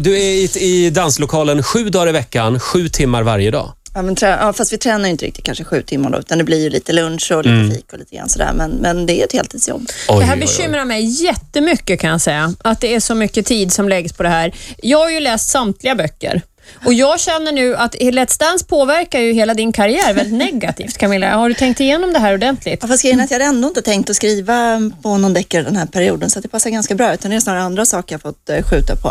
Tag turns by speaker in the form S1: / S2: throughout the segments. S1: Du är i, i danslokalen sju dagar i veckan, sju timmar varje dag.
S2: Ja, men trä- ja, fast vi tränar ju inte riktigt kanske sju timmar då, utan det blir ju lite lunch och lite fik och lite grann sådär. Men, men det är ett heltidsjobb.
S1: Oj,
S3: Det här
S1: oj, oj.
S3: bekymrar mig jättemycket kan jag säga. Att det är så mycket tid som läggs på det här. Jag har ju läst samtliga böcker. Och jag känner nu att Let's Dance påverkar ju hela din karriär väldigt negativt Camilla. Har du tänkt igenom det här ordentligt?
S2: Ja, fast grejen är att jag hade ändå inte tänkt att skriva på någon deckare den här perioden, så att det passar ganska bra. Utan det är snarare andra saker jag fått eh, skjuta på.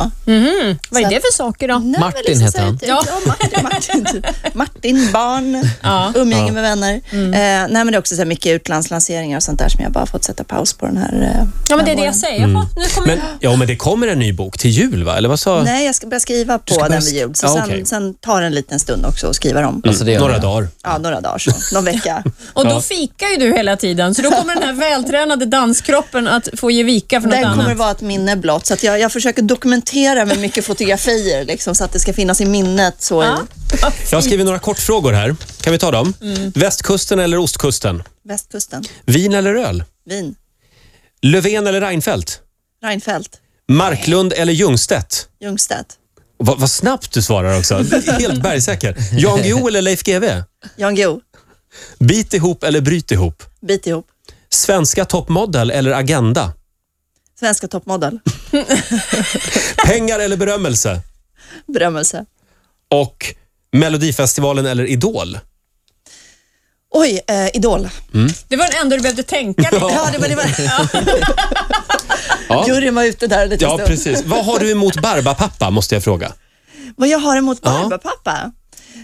S3: Vad är det för saker då?
S2: Nej, men
S4: Martin heter
S2: så här
S4: han.
S2: Typ, ja. Martin, Martin, typ. Martin, barn,
S3: Ja.
S2: umgänge med vänner. Eh, nej, men det är också så här mycket utlandslanseringar och sånt där som jag bara fått sätta paus på den här eh,
S3: Ja, men det
S2: den
S3: är det
S2: här
S3: jag säger. Jaha, nu kommer
S1: Men, ja, men det kommer en ny bok till jul, va? Eller vad sa...
S2: Nej, jag ska börja skriva på
S1: ska börja
S2: den
S1: sk-
S2: vid jul. Så
S1: Ja,
S2: sen,
S1: okej. Mm.
S2: sen tar det en liten stund också att skriva dem.
S4: Alltså det gör
S1: Några
S4: jag.
S1: dagar.
S2: Ja, några dagar så. Någon vecka.
S3: Och
S1: Ja.
S3: då fikar ju du hela tiden, så då kommer den här vältränade danskroppen att få ge vika för något
S2: Den
S3: annat.
S2: kommer vara ett minne blott. Så att jag, jag försöker dokumentera med mycket fotografier liksom, så att det ska finnas i minnet. Så
S3: Ja.
S2: i
S1: Jag har skrivit några kortfrågor här. Kan vi ta dem?
S3: Mm.
S1: Västkusten eller ostkusten?
S2: västkusten.
S1: Vin eller öl?
S2: Wien.
S1: Löfven eller Reinfeldt?
S2: Reinfeldt.
S1: Marklund eller Ljungstedt?
S2: Ljungstedt.
S1: Vad, vad snabbt du svarar också. Helt bergsäker. Jan Guillou eller Leif GW?
S2: Jan Guillou.
S1: Bit ihop eller bryt ihop?
S2: Bit ihop.
S1: Svenska toppmodell eller Agenda?
S2: Svenska toppmodell.
S1: Pengar eller berömmelse?
S2: Berömmelse.
S1: Och Melodifestivalen eller Idol?
S2: Oj, eh, Idol.
S3: Det var den enda du behövde tänka lite.
S2: Ja, det var det. Var.
S1: Ja.
S2: Juryn var ute där en liten
S1: Ja,
S2: stund.
S1: precis. Vad har du emot Barbapapa, måste jag fråga?
S2: Vad jag har emot
S1: Ja.
S2: Barbapapa?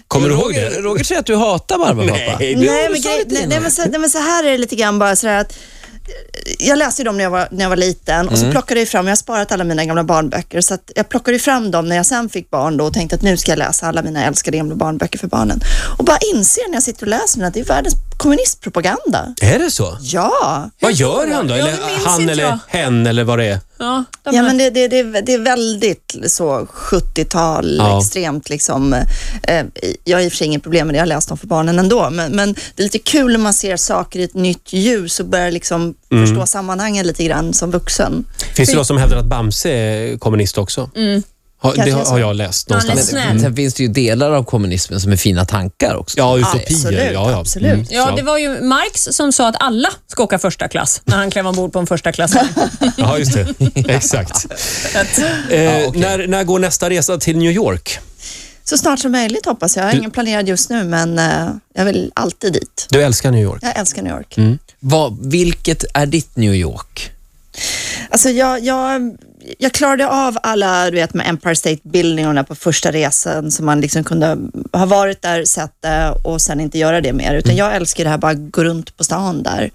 S1: Kommer du ihåg
S4: Roger-
S1: det?
S4: Roger säger att du hatar Barbapapa.
S1: Nej, det...
S2: Nej men, grej, nej, nej, men så, nej, men så här är det lite grann bara sådär att eh, jag läste ju dem när jag var, när jag var liten och så plockade jag ju fram, jag har sparat alla mina gamla barnböcker, så att jag plockade ju fram dem när jag sen fick barn då och tänkte att nu ska jag läsa alla mina älskade gamla barnböcker för barnen. Och bara inser när jag sitter och läser den att det är världens kommunistpropaganda.
S1: Är det så?
S2: Ja,
S1: Vad gör han då?
S3: Ja, det
S1: Eller
S3: minns
S1: han
S3: inte
S1: eller
S3: jag.
S1: hen eller vad det är?
S3: Ja, de
S2: ja
S3: här-
S2: men det, det, det, är- det är väldigt så 70-tal,
S1: Ja.
S2: extremt liksom. Eh, jag har i och för sig inget problem med det, jag har läst dem för barnen ändå, men, men det är lite kul när man ser saker i ett nytt ljus och börjar liksom förstå sammanhangen lite grann som vuxen.
S1: Finns det de som hävdar att Bamse är kommunist också? Har, det
S2: Kanske är så.
S1: har jag läst
S3: Han Mm. är
S1: någonstans.
S3: snäll.
S4: Sen finns det ju delar av kommunismen som är fina tankar också.
S1: Ja, utopier.
S2: Absolut,
S1: ja, ja.
S2: absolut.
S1: Mm,
S3: Ja,
S1: så.
S3: det var ju Marx som sa att alla ska åka första klass när han klev ombord på en första klass.
S1: Ja, just det. Exakt. eh, när, när går nästa resa till New York?
S2: Så snart som möjligt hoppas jag. Jag har ingen planerad just nu, men eh, jag vill alltid dit.
S1: Du älskar New York.
S2: Jag älskar New York.
S4: Vad, vilket är ditt New York?
S2: Alltså jag, jag, jag klarade av alla, du vet med Empire State Building och den där på första resan som man liksom kunde ha varit där, sett det och sen inte göra det mer. Utan jag älskar det här bara gå runt på stan där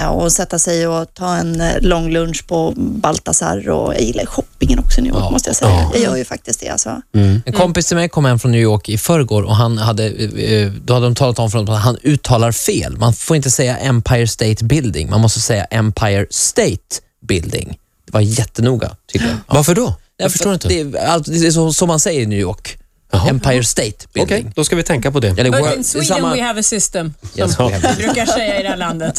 S2: Eh, och sätta sig och ta en eh, lång lunch på Baltasar och jag gillar shoppingen också i New York måste jag säga. Jag gör ju faktiskt det alltså.
S4: En kompis till mig kom hem från New York i förrgår och han hade, eh, eh, då hade de talat om för honom att han uttalar fel. Man får inte säga Empire State Building, man måste säga Empire State Building. Det var jättenoga, tycker jag. Ja.
S1: Varför då?
S4: Jag
S1: Jag förstår inte.
S4: Det är, allt- det är så, så man säger i New York. Empire State Building.
S1: Okej, då ska vi tänka på det.
S4: Eller
S3: But
S4: World-
S3: in
S4: det är
S3: Sweden we have a system, som
S4: Yes, we have-
S3: vi brukar säga i det här landet.